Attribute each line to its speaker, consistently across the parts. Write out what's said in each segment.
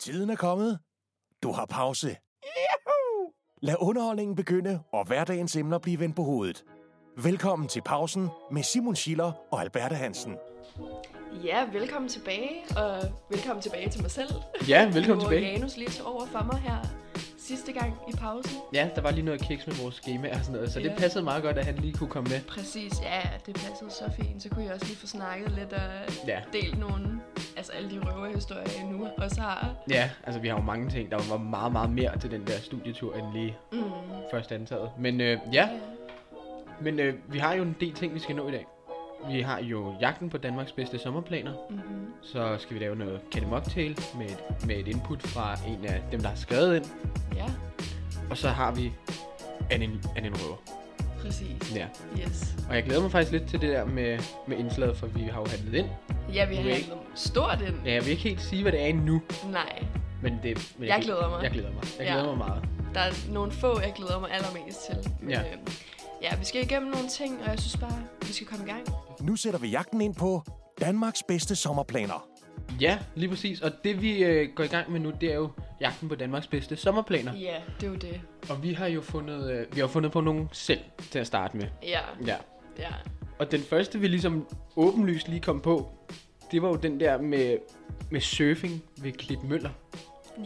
Speaker 1: Tiden er kommet. Du har pause. Yahoo! Lad underholdningen begynde, og hverdagens emner blive vendt på hovedet. Velkommen til pausen med Simon Schiller og Alberte Hansen.
Speaker 2: Ja, velkommen tilbage, og velkommen tilbage til mig selv.
Speaker 3: Ja, velkommen
Speaker 2: Hvor
Speaker 3: tilbage.
Speaker 2: Janus lige tog over for mig her sidste gang i pausen.
Speaker 3: Ja, der var lige noget kiks med vores schema og sådan noget, så
Speaker 2: Ja.
Speaker 3: det passede meget godt, at han lige kunne komme med.
Speaker 2: Præcis, ja, det passede så fint. Så kunne jeg også lige få snakket lidt og
Speaker 3: Ja.
Speaker 2: delt nogle, altså alle de røverhistorier, jeg nu også har.
Speaker 3: Ja, altså vi har jo mange ting. Der var meget, meget mere til den der studietur end lige
Speaker 2: Mm.
Speaker 3: først antaget. Men øh, ja, men øh, vi har jo en del ting, vi skal nå i dag. Vi har jo jagten på Danmarks bedste sommerplaner.
Speaker 2: Mm-hmm.
Speaker 3: Så skal vi lave noget Kenny Mocktail med et, med et input fra en af dem, der har skrevet ind.
Speaker 2: Ja,
Speaker 3: Og så har vi Anne, Anne Røver.
Speaker 2: præcis.
Speaker 3: Ja.
Speaker 2: Yes.
Speaker 3: Og jeg glæder mig faktisk lidt til det der med, med indslaget, for vi har jo handlet ind.
Speaker 2: Ja, vi har
Speaker 3: Du er
Speaker 2: handlet stort ind.
Speaker 3: Ja, jeg vil ikke helt sige, hvad det er endnu,
Speaker 2: Nej,
Speaker 3: Men det, men
Speaker 2: Jeg glæder mig.
Speaker 3: Jeg glæder mig. Jeg
Speaker 2: Ja.
Speaker 3: glæder mig meget.
Speaker 2: der er nogle få, jeg glæder mig allermest til. Men,
Speaker 3: Ja.
Speaker 2: øhm, ja, vi skal igennem nogle ting, og jeg synes bare, vi skal komme i gang.
Speaker 1: Nu sætter vi jagten ind på Danmarks bedste sommerplaner.
Speaker 3: Ja, lige præcis. Og det vi øh, går i gang med nu, det er jo jagten på Danmarks bedste sommerplaner.
Speaker 2: Ja, det er jo det.
Speaker 3: Og vi har jo fundet, øh, vi har fundet på nogle selv til at starte med.
Speaker 2: Ja,
Speaker 3: Ja.
Speaker 2: ja.
Speaker 3: Og den første, vi ligesom åbenlyst lige kom på, det var jo den der med, med surfing ved Klip Møller.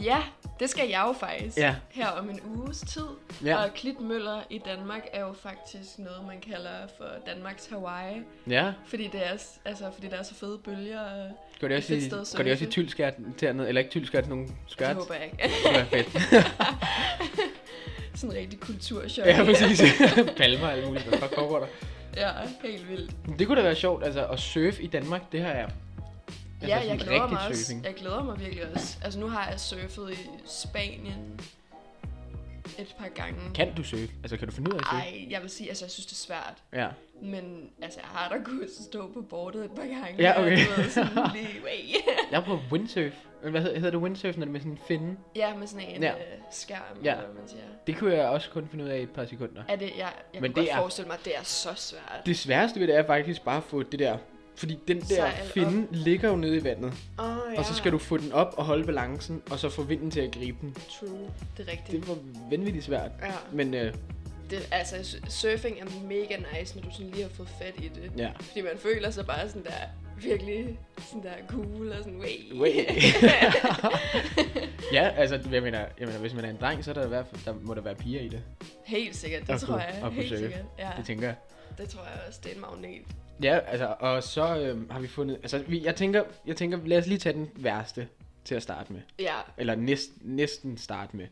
Speaker 2: Ja, det skal jeg jo faktisk.
Speaker 3: Ja.
Speaker 2: Her om en uges tid.
Speaker 3: Ja.
Speaker 2: Og klitmøller i Danmark er jo faktisk noget, man kalder for Danmarks Hawaii.
Speaker 3: Ja.
Speaker 2: Fordi det er, s- altså, fordi der er så fede bølger. Og
Speaker 3: Går det også
Speaker 2: Et fedt sted
Speaker 3: i,
Speaker 2: at
Speaker 3: går det
Speaker 2: surfe.
Speaker 3: også i tylskært dernede? Eller ikke tylskært, nogle skørt?
Speaker 2: det håber jeg ikke.
Speaker 3: Det var fedt.
Speaker 2: Sådan en rigtig kulturchok.
Speaker 3: ja, præcis. Palmer og alt muligt. Hvad fuck foregår der?
Speaker 2: ja, helt vildt.
Speaker 3: Det kunne da være sjovt, altså at surfe i Danmark, det her er...
Speaker 2: Ja, jeg
Speaker 3: sådan
Speaker 2: glæder
Speaker 3: rigtig
Speaker 2: mig også.
Speaker 3: surfing.
Speaker 2: Jeg glæder mig virkelig også. Altså, nu har jeg surfet i Spanien et par gange.
Speaker 3: Kan du surfe? Altså, kan du finde ud af at surfe?
Speaker 2: Ej, jeg vil sige, altså, jeg synes, det er svært.
Speaker 3: Ja.
Speaker 2: Men altså, jeg har da kunnet stå på bordet et par gange.
Speaker 3: Ja, okay.
Speaker 2: Og, du ved, sådan lige, "Wait."
Speaker 3: Jeg prøver windsurf. Men Hvad hedder, hedder det windsurf, når det er med sådan en finde?
Speaker 2: Ja, med sådan en ja.
Speaker 3: Ja.
Speaker 2: øh, skærm,
Speaker 3: Ja.
Speaker 2: ja. eller hvad man siger.
Speaker 3: Det kunne jeg også kun finde ud af i et par sekunder.
Speaker 2: Er det, jeg, jeg
Speaker 3: Men
Speaker 2: kan
Speaker 3: det
Speaker 2: godt
Speaker 3: er-
Speaker 2: forestille mig, at det er så svært.
Speaker 3: Det sværeste ved det er faktisk bare at få det der... Fordi den der
Speaker 2: Sejl op.
Speaker 3: finde ligger jo nede i vandet.
Speaker 2: Oh,
Speaker 3: Og så skal du få den op og holde balancen, og så få vinden til at gribe den.
Speaker 2: True. Det er rigtigt.
Speaker 3: Det var vanvittigt svært.
Speaker 2: Ja.
Speaker 3: Men øh,
Speaker 2: Det, altså, s- surfing er mega nice, når du sådan lige har fået fat i det.
Speaker 3: ja.
Speaker 2: Fordi man føler sig bare sådan der virkelig sådan der cool og sådan, way.
Speaker 3: Way. ja, altså, jeg mener, jeg mener, hvis man er en dreng, så er der, i hvert fald, der må der være piger i det.
Speaker 2: Helt sikkert, det
Speaker 3: Og
Speaker 2: tror
Speaker 3: kunne-
Speaker 2: jeg.
Speaker 3: og kunne
Speaker 2: Helt
Speaker 3: surfe.
Speaker 2: sikkert. Ja,
Speaker 3: Det tænker jeg.
Speaker 2: det tror jeg også. Det er en magnet.
Speaker 3: Ja, altså, og så øhm, har vi fundet... Altså, vi, jeg, tænker, jeg tænker, lad os lige tage den værste til at starte med.
Speaker 2: Ja,
Speaker 3: Eller næst, næsten starte med.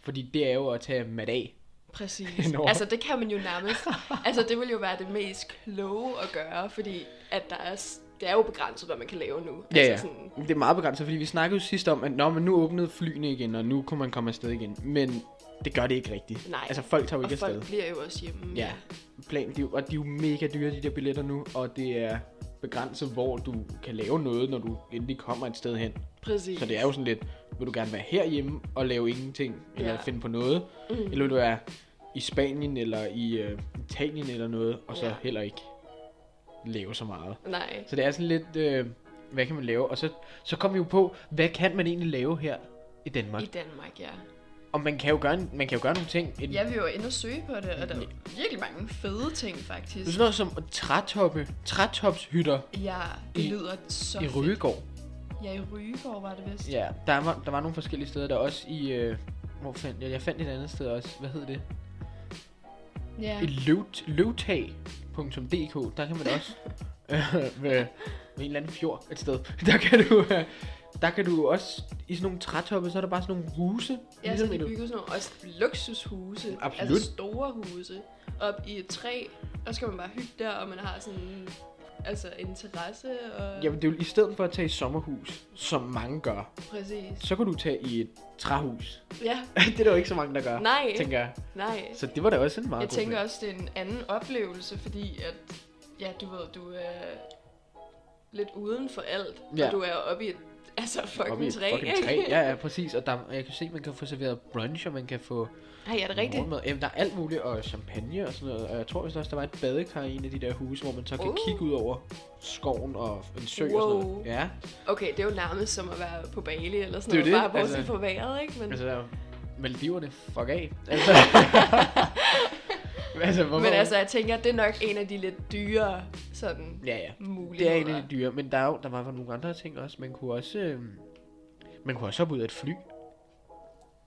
Speaker 3: Fordi det er jo at tage mat af.
Speaker 2: præcis.
Speaker 3: Nå.
Speaker 2: Altså, det kan man jo nærmest. altså, det vil jo være det mest kloge at gøre, fordi at der er, s- det er jo begrænset, hvad man kan lave nu.
Speaker 3: Ja, ja.
Speaker 2: altså, Sådan,
Speaker 3: Det er meget begrænset, fordi vi snakkede jo sidst om, at Nå, men nu åbnede flyene igen, og nu kunne man komme afsted igen. Men det gør det ikke rigtigt.
Speaker 2: Nej.
Speaker 3: Altså, folk tager jo
Speaker 2: og
Speaker 3: ikke
Speaker 2: folk
Speaker 3: afsted.
Speaker 2: bliver jo også hjemme.
Speaker 3: Ja. Plan, de, er jo- og de er jo mega dyre, de der billetter nu, og det er begrænset, hvor du kan lave noget, når du endelig kommer et sted hen.
Speaker 2: Præcis.
Speaker 3: Så det er jo sådan lidt, vil du gerne være herhjemme og lave ingenting, eller
Speaker 2: Ja.
Speaker 3: finde på noget, mm. eller vil du være i Spanien eller i øh, Italien eller noget, og så
Speaker 2: Ja.
Speaker 3: heller ikke lave så meget.
Speaker 2: Nej,
Speaker 3: Så det er sådan lidt, øh, hvad kan man lave? Og så, så kom vi jo på, hvad kan man egentlig lave her i Danmark?
Speaker 2: i Danmark, ja.
Speaker 3: Og man kan jo gøre, en- man kan jo gøre nogle ting. En,
Speaker 2: Jeg vil jo endnu søge på det, og der er jo virkelig mange fede ting, faktisk.
Speaker 3: Sådan noget som trætoppe, trætopshytter
Speaker 2: Ja, det
Speaker 3: I-
Speaker 2: lyder så
Speaker 3: i
Speaker 2: fedt.
Speaker 3: Røgegård.
Speaker 2: Ja, i Rygegård var det vist.
Speaker 3: Ja, der var, der var nogle forskellige steder, der også i... Øh, hvor fandt jeg? Jeg fandt et andet sted også. Hvad hed det?
Speaker 2: ja.
Speaker 3: Et løvt- løvtag.dk, der kan man også øh, med, med en eller anden fjord et sted. Der kan du, øh, der kan du også i sådan nogle trætoppe, så er der bare sådan nogle huse. Ligesom
Speaker 2: Ja, så
Speaker 3: i
Speaker 2: de
Speaker 3: du-
Speaker 2: bygger sådan nogle også luksushuse.
Speaker 3: Absolut.
Speaker 2: Altså store huse. Op i et træ. Og så kan man bare hygge der, og man har sådan altså en terrasse. Og...
Speaker 3: Jamen det er jo i stedet for at tage i sommerhus, som mange gør,
Speaker 2: Præcis.
Speaker 3: så kan du tage i et træhus.
Speaker 2: Ja,
Speaker 3: det er der jo ikke så mange, der gør,
Speaker 2: Nej.
Speaker 3: tænker jeg.
Speaker 2: nej.
Speaker 3: Så det var da også en meget
Speaker 2: Jeg
Speaker 3: god
Speaker 2: tænker
Speaker 3: plan.
Speaker 2: også, det er en anden oplevelse, fordi at, ja, du ved, du er lidt uden for alt. Ja.
Speaker 3: Ja.
Speaker 2: Og du er oppe i et altså
Speaker 3: Oppe
Speaker 2: fucking
Speaker 3: i et
Speaker 2: træ,
Speaker 3: fucking træ.
Speaker 2: ikke?
Speaker 3: Ja, ja, præcis. Og der, og jeg kan se, at man kan få serveret brunch, og man kan få
Speaker 2: Ej, er det rigtigt?
Speaker 3: morgenmad. Jamen, der er alt muligt, og champagne og sådan noget. Og jeg tror vist også, der var et badekar i en af de der huse, hvor man så kan
Speaker 2: Uh.
Speaker 3: kigge ud over skoven og en sø og
Speaker 2: Wow.
Speaker 3: sådan noget. Ja,
Speaker 2: Okay, det er jo nærmest som at være på Bali eller sådan
Speaker 3: Det
Speaker 2: noget.
Speaker 3: er jo det,
Speaker 2: Bare bortset altså...
Speaker 3: altså.
Speaker 2: fra vejret, ikke? Men, altså,
Speaker 3: altså, Maldiverne, fuck af. Altså, altså, hvorfor?
Speaker 2: men altså, jeg tænker, det er nok en af de lidt dyre sådan
Speaker 3: ja, ja. Det
Speaker 2: muligheder.
Speaker 3: er en af de dyre, men der, er jo, der var jo nogle andre ting også. Man kunne også, øh, man kunne også hoppe ud af et fly,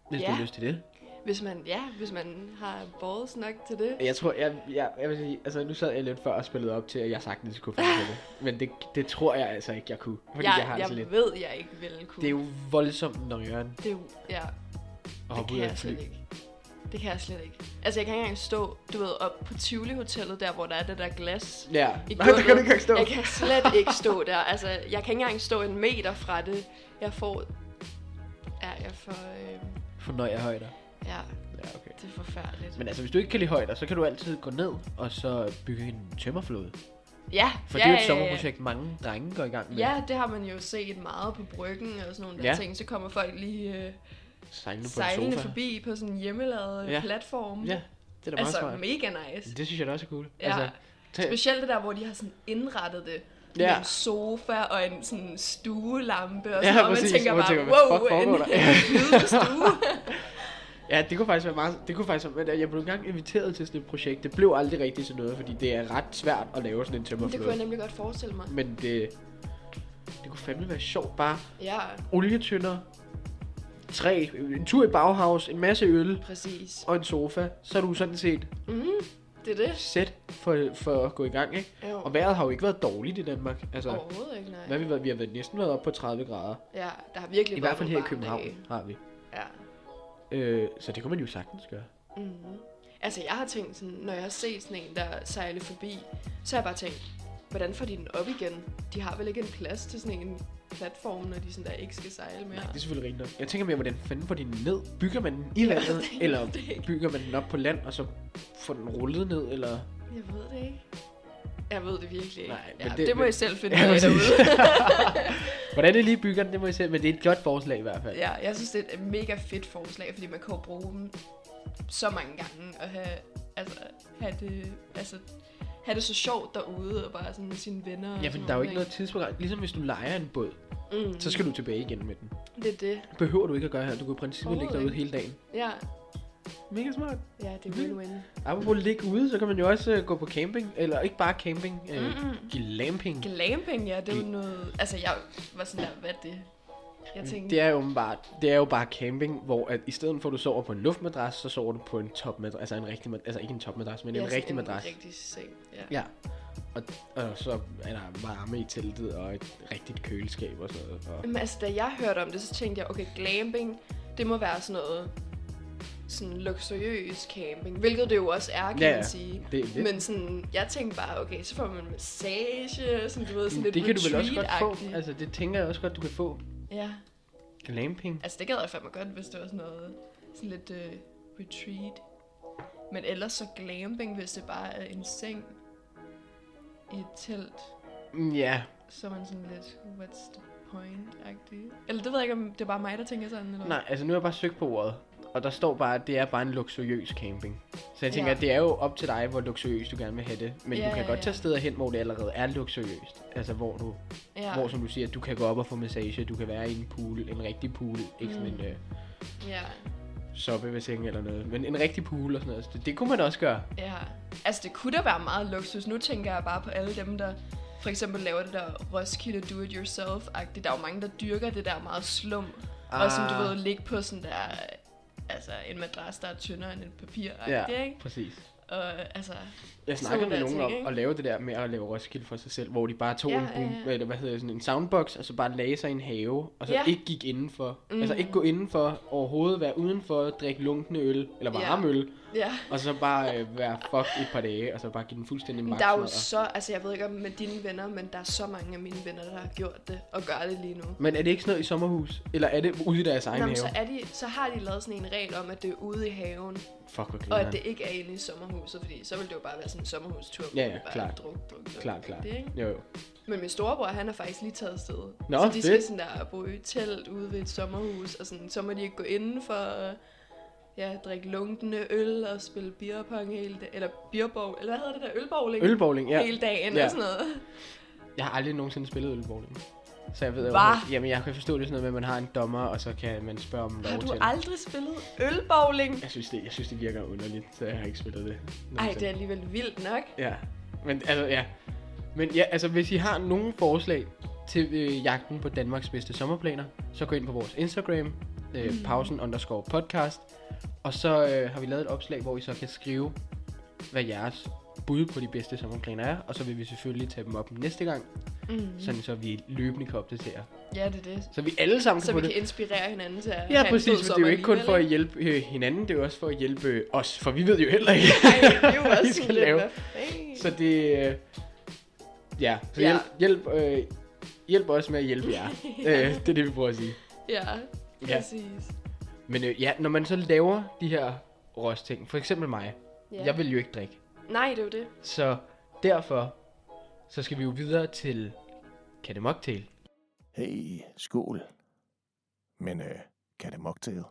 Speaker 3: hvis ja. du
Speaker 2: Ja.
Speaker 3: har lyst til det.
Speaker 2: Hvis man, ja, hvis man har balls nok til det.
Speaker 3: Jeg tror, jeg, jeg, jeg vil sige, altså nu sad jeg lidt før og spillede op til, at jeg sagtens kunne finde på det. Men det, det tror jeg altså ikke, jeg kunne. Fordi jeg, jeg har
Speaker 2: jeg,
Speaker 3: altså
Speaker 2: jeg
Speaker 3: lidt.
Speaker 2: ved, jeg ikke ville kunne.
Speaker 3: Det er jo voldsomt nøjeren
Speaker 2: Det er jo ja,
Speaker 3: at
Speaker 2: det
Speaker 3: hoppe
Speaker 2: kan
Speaker 3: ud af et
Speaker 2: jeg
Speaker 3: fly.
Speaker 2: slet ikke. Det kan jeg slet ikke. Altså, jeg kan ikke engang stå, du ved, op på Tivoli-hotellet, der hvor der er det der glas.
Speaker 3: Ja,
Speaker 2: i
Speaker 3: nej, der kan
Speaker 2: gulvet.
Speaker 3: du ikke engang stå.
Speaker 2: Jeg kan slet ikke stå der. Altså, jeg kan ikke engang stå en meter fra det. Jeg får... Ja, jeg får... Øh,
Speaker 3: Fornøjer højder.
Speaker 2: ja,
Speaker 3: Ja, okay.
Speaker 2: det er forfærdeligt.
Speaker 3: Men altså, hvis du ikke kan lide højder, så kan du altid gå ned og så bygge en tømmerflåde.
Speaker 2: ja,
Speaker 3: For
Speaker 2: ja,
Speaker 3: det er jo
Speaker 2: ja,
Speaker 3: et
Speaker 2: ja,
Speaker 3: sommerprojekt, mange drenge går i gang med.
Speaker 2: Ja, det har man jo set meget på bryggen og sådan nogle der
Speaker 3: Ja.
Speaker 2: ting. Så kommer folk lige øh,
Speaker 3: Sejlende på en
Speaker 2: sejlende
Speaker 3: sofa.
Speaker 2: forbi på sådan en hjemmelavet
Speaker 3: Ja.
Speaker 2: ja. platform.
Speaker 3: Ja, det er da meget
Speaker 2: altså,
Speaker 3: smart.
Speaker 2: mega nice.
Speaker 3: Det synes jeg da også er cool. Altså,
Speaker 2: Ja.
Speaker 3: tag-
Speaker 2: Specielt det der, hvor de har sådan indrettet det.
Speaker 3: Ja.
Speaker 2: Ja. Med en sofa og en sådan stuelampe og
Speaker 3: Ja,
Speaker 2: sådan noget. og
Speaker 3: præcis,
Speaker 2: Man tænker
Speaker 3: hvor man
Speaker 2: bare,
Speaker 3: tænker, hvad fuck
Speaker 2: wow, en
Speaker 3: foregår der?"
Speaker 2: lille stue.
Speaker 3: Ja, det kunne faktisk være meget... Det kunne faktisk være, jeg blev engang inviteret til sådan et projekt. Det blev aldrig rigtigt til noget, fordi det er ret svært at lave sådan en
Speaker 2: det kunne jeg
Speaker 3: tømmerflåde.
Speaker 2: nemlig godt forestille mig.
Speaker 3: Men det, det kunne fandme være sjovt. Bare
Speaker 2: Ja,
Speaker 3: olietønder, træ, en tur i Bauhaus, en masse øl
Speaker 2: præcis.
Speaker 3: og en sofa. Så er du sådan set
Speaker 2: Mm, det er det.
Speaker 3: sæt for, for at gå i gang, ikke?
Speaker 2: Jo.
Speaker 3: Og vejret har jo ikke været dårligt i Danmark. Altså,
Speaker 2: Overhovedet ikke, nej.
Speaker 3: hvad har vi, været? vi har været næsten været oppe på 30 grader.
Speaker 2: Ja, der har virkelig
Speaker 3: I
Speaker 2: været
Speaker 3: hvert fald her
Speaker 2: nogle
Speaker 3: i København
Speaker 2: varme dage.
Speaker 3: har vi.
Speaker 2: Ja.
Speaker 3: Øh, så det kunne man jo sagtens gøre.
Speaker 2: Mm. Altså, jeg har tænkt sådan, når jeg har set sådan en, der sejler forbi, så har jeg bare tænkt, hvordan får de den op igen? De har vel ikke en plads til sådan en platform, når de sådan der ikke skal sejle mere.
Speaker 3: Nej, det er selvfølgelig rigtigt nok. Jeg tænker mere, hvordan fanden får de den ned? Bygger man den i landet,
Speaker 2: det er
Speaker 3: eller
Speaker 2: det ikke.
Speaker 3: bygger man den op på land, og så får den rullet ned, eller...
Speaker 2: Jeg ved det ikke. Jeg ved det virkelig ikke.
Speaker 3: Nej, men
Speaker 2: ja,
Speaker 3: det-
Speaker 2: det, det må
Speaker 3: men-
Speaker 2: I selv finde
Speaker 3: Ja,
Speaker 2: ud af
Speaker 3: præcis.
Speaker 2: derude.
Speaker 3: Hvordan det lige bygger den, det må jeg se, men det er et godt forslag i hvert fald.
Speaker 2: Ja, jeg synes, det er et mega fedt forslag, fordi man kan jo bruge dem så mange gange og have, altså, have, det, altså, have det så sjovt derude og bare sådan med sine venner. og
Speaker 3: Ja, for
Speaker 2: sådan
Speaker 3: der er jo
Speaker 2: noget,
Speaker 3: ikke noget tidsbegrænsning. Ligesom hvis du lejer en båd,
Speaker 2: Mm,
Speaker 3: så skal du tilbage igen med den.
Speaker 2: det er det.
Speaker 3: Behøver du ikke at gøre her. Du kan i princippet ligge
Speaker 2: Overhovedet
Speaker 3: derude
Speaker 2: ikke.
Speaker 3: hele dagen.
Speaker 2: Ja,
Speaker 3: Mega smart.
Speaker 2: ja det er
Speaker 3: Mm-hmm.
Speaker 2: win-win.
Speaker 3: Apropos ligge ude, så kan man jo også øh, gå på camping. Eller ikke bare camping, øh,
Speaker 2: Mm-mm.
Speaker 3: glamping.
Speaker 2: Glamping, ja, det er jo noget... Altså, jeg var sådan der, hvad er det? Jeg tænkte,
Speaker 3: Mm, Det er, jo bare, det er jo bare camping, hvor at i stedet for at du sover på en luftmadras, så sover du på en topmadras. Altså, en rigtig, mad- altså ikke en topmadras, men
Speaker 2: ja,
Speaker 3: en
Speaker 2: sådan
Speaker 3: rigtig madras.
Speaker 2: En rigtig seng, ja.
Speaker 3: Ja. Og, og så er der varme i teltet og et rigtigt køleskab og sådan noget. Og,
Speaker 2: Jamen, altså, da jeg hørte om det, så tænkte jeg, okay, glamping, det må være sådan noget sådan luksuriøs camping, hvilket det jo også er, kan
Speaker 3: Ja,
Speaker 2: ja,
Speaker 3: ja.
Speaker 2: man sige.
Speaker 3: Det er lidt.
Speaker 2: Men sådan, jeg tænkte bare, okay, så får man massage, sådan, du ved, sådan lidt
Speaker 3: det kan du vel også godt få.
Speaker 2: retreat-agtigt.
Speaker 3: Altså, det tænker jeg også godt, du kan få.
Speaker 2: Ja,
Speaker 3: Glamping.
Speaker 2: altså det gad jeg fandme godt, hvis det var sådan noget, sådan lidt øh, retreat. Men ellers så glamping, hvis det bare er en seng i et telt,
Speaker 3: Mm, Ja,
Speaker 2: så er man sådan lidt, what's the point-agtig. Eller det ved jeg ikke, om det er bare mig, der tænker sådan, eller hvad?
Speaker 3: nej, altså nu har jeg bare søgt på ordet. Og der står bare, at det er bare en luksuriøs camping. Så jeg tænker,
Speaker 2: Ja.
Speaker 3: at det er jo op til dig, hvor luksuriøs du gerne vil have det. Men
Speaker 2: Ja,
Speaker 3: du kan
Speaker 2: ja,
Speaker 3: godt
Speaker 2: ja.
Speaker 3: tage steder hen, hvor det allerede er luksuriøst. Altså hvor du,
Speaker 2: Ja.
Speaker 3: hvor som du siger, du kan gå op og få massage, du kan være i en pool, en rigtig pool, ikke sådan
Speaker 2: Mm.
Speaker 3: en øh,
Speaker 2: ja.
Speaker 3: soppe ved sengen eller noget, men en rigtig pool og sådan noget. Så det, det kunne man også gøre.
Speaker 2: Ja, altså det kunne da være meget luksus. Nu tænker jeg bare på alle dem, der for eksempel laver det der Roskilde do-it-yourself-agtigt. Der er jo mange, der dyrker det der meget slum. Ah. Og som du ved, ligge på sådan der, altså en madras, der er tyndere end et papir. Ja. Ikke?
Speaker 3: præcis.
Speaker 2: Og altså,
Speaker 3: Jeg
Speaker 2: Så
Speaker 3: snakkede
Speaker 2: må
Speaker 3: med
Speaker 2: der
Speaker 3: nogen
Speaker 2: ting,
Speaker 3: om
Speaker 2: ikke?
Speaker 3: at lave det der med at lave Roskilde for sig selv, hvor de bare tog
Speaker 2: Ja,
Speaker 3: en,
Speaker 2: ja,
Speaker 3: boom,
Speaker 2: ja.
Speaker 3: eller hvad hedder det, sådan en soundbox, og så bare lagde sig i en have, og så
Speaker 2: Ja.
Speaker 3: ikke gik indenfor. Mm. Altså
Speaker 2: Mm.
Speaker 3: ikke gå indenfor overhovedet, være udenfor, drikke lunkende øl, eller
Speaker 2: Ja.
Speaker 3: varme øl,
Speaker 2: Ja.
Speaker 3: Og så bare øh, være fucked i et par dage, og så bare give den fuldstændig
Speaker 2: Men der er jo
Speaker 3: magt.
Speaker 2: så, altså jeg ved ikke om med dine venner, men der er så mange af mine venner, der har gjort det og gør det lige nu.
Speaker 3: Men er det ikke sådan noget i sommerhus? Eller er det ude i deres egen
Speaker 2: Nå, men
Speaker 3: have?
Speaker 2: så, er de, så har de lavet sådan en regel om, at det er ude i haven,
Speaker 3: Fuck, hvor
Speaker 2: og at
Speaker 3: grineren.
Speaker 2: det ikke er inde i sommerhuset, fordi så ville det jo bare være sådan en sommerhustur, hvor
Speaker 3: Ja, ja,
Speaker 2: man bare
Speaker 3: klart.
Speaker 2: druk, druk, druk,
Speaker 3: Klar,
Speaker 2: druk,
Speaker 3: klar.
Speaker 2: Det, ikke?
Speaker 3: Jo, jo.
Speaker 2: Men min storebror, han er faktisk lige taget afsted.
Speaker 3: Nå,
Speaker 2: så de skal
Speaker 3: fedt.
Speaker 2: sådan der bo i telt ude ved et sommerhus, og sådan, så må de ikke gå indenfor og ja, drikke lunkende øl og spille beerpong hele dagen, eller beerbog, eller hvad hedder det der, ølbowling?
Speaker 3: Ølbowling, ja.
Speaker 2: Hele dagen
Speaker 3: Ja.
Speaker 2: og sådan noget.
Speaker 3: Jeg har aldrig nogensinde spillet ølbowling. Så jeg ved jo...
Speaker 2: Hva?
Speaker 3: Jamen, jeg kan forstå det er sådan noget med, at man har en dommer, og så kan man spørge om lov
Speaker 2: Har du
Speaker 3: til.
Speaker 2: aldrig spillet ølbowling?
Speaker 3: Jeg synes, det, jeg synes, det virker underligt, så jeg har ikke spillet det.
Speaker 2: Ej,
Speaker 3: nogensinde.
Speaker 2: det er alligevel vildt nok.
Speaker 3: Ja, men altså, ja. Men ja, altså, hvis I har nogle forslag til øh, jagten på Danmarks bedste sommerplaner, så gå ind på vores Instagram, øh,
Speaker 2: Mm.
Speaker 3: pausen underscore podcast, og så øh, har vi lavet et opslag, hvor I så kan skrive, hvad jeres bud på de bedste sommerplaner er, og så vil vi selvfølgelig tage dem op næste gang,
Speaker 2: Mm.
Speaker 3: sådan så vi løbende kan opdatere.
Speaker 2: Ja, det er det.
Speaker 3: Så vi alle sammen
Speaker 2: Så
Speaker 3: kan få
Speaker 2: vi
Speaker 3: det.
Speaker 2: kan inspirere hinanden til at
Speaker 3: Ja,
Speaker 2: have en fed
Speaker 3: præcis, for det er jo
Speaker 2: sommer
Speaker 3: ikke kun for
Speaker 2: alligevel,
Speaker 3: at hjælpe øh, hinanden, det er jo også for at hjælpe øh, os, for vi ved jo heller ikke,
Speaker 2: ikke? Ej, det er jo
Speaker 3: hvad vi
Speaker 2: også
Speaker 3: skal
Speaker 2: sådan lidt,
Speaker 3: lave.
Speaker 2: hvad fanden?
Speaker 3: Så det... Øh, ja, så
Speaker 2: Ja.
Speaker 3: ja. hjælp, hjælp, øh, hjælp os med at hjælpe jer. øh, det er det, vi prøver at sige.
Speaker 2: Ja,
Speaker 3: Ja.
Speaker 2: præcis.
Speaker 3: Men øh, ja, når man så laver de her rosting, for eksempel mig,
Speaker 2: Ja.
Speaker 3: ja. jeg vil jo ikke drikke.
Speaker 2: Nej, det er jo det.
Speaker 3: Så derfor, så skal vi jo videre til Katte Mocktail.
Speaker 1: Hey, skål. Men øh, kan det mocktail?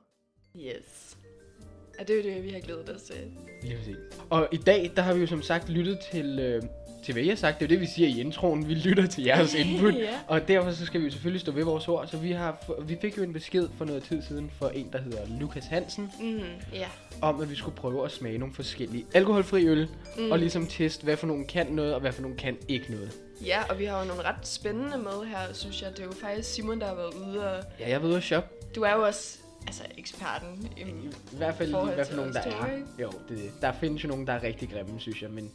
Speaker 2: Yes. Og det er jo det, vi har glædet os til.
Speaker 3: Lige præcis. Og i dag, der har vi jo som sagt lyttet til, øh, til hvad I har sagt. Det er jo det, vi siger i introen. Vi lytter til jeres input.
Speaker 2: Ja.
Speaker 3: Og derfor så skal vi jo selvfølgelig stå ved vores ord. Så vi, har, få- vi fik jo en besked for noget tid siden fra en, der hedder Lukas Hansen,
Speaker 2: Mm, ja.
Speaker 3: om, at vi skulle prøve at smage nogle forskellige alkoholfri øl, mm. og ligesom teste, hvad for nogen kan noget, og hvad for nogen kan ikke noget.
Speaker 2: ja, og vi har jo nogle ret spændende med her, synes jeg. Det er jo faktisk Simon, der har været ude, og
Speaker 3: Ja, jeg ved at shop.
Speaker 2: du er jo også altså, eksperten. Øhm, I,
Speaker 3: I hvert fald lige,
Speaker 2: Forhold
Speaker 3: hvad
Speaker 2: til
Speaker 3: for nogen
Speaker 2: os
Speaker 3: der
Speaker 2: to,
Speaker 3: er.
Speaker 2: ikke?
Speaker 3: Jo, det, er det. der findes jo nogen, der er rigtig grimme, synes jeg, men,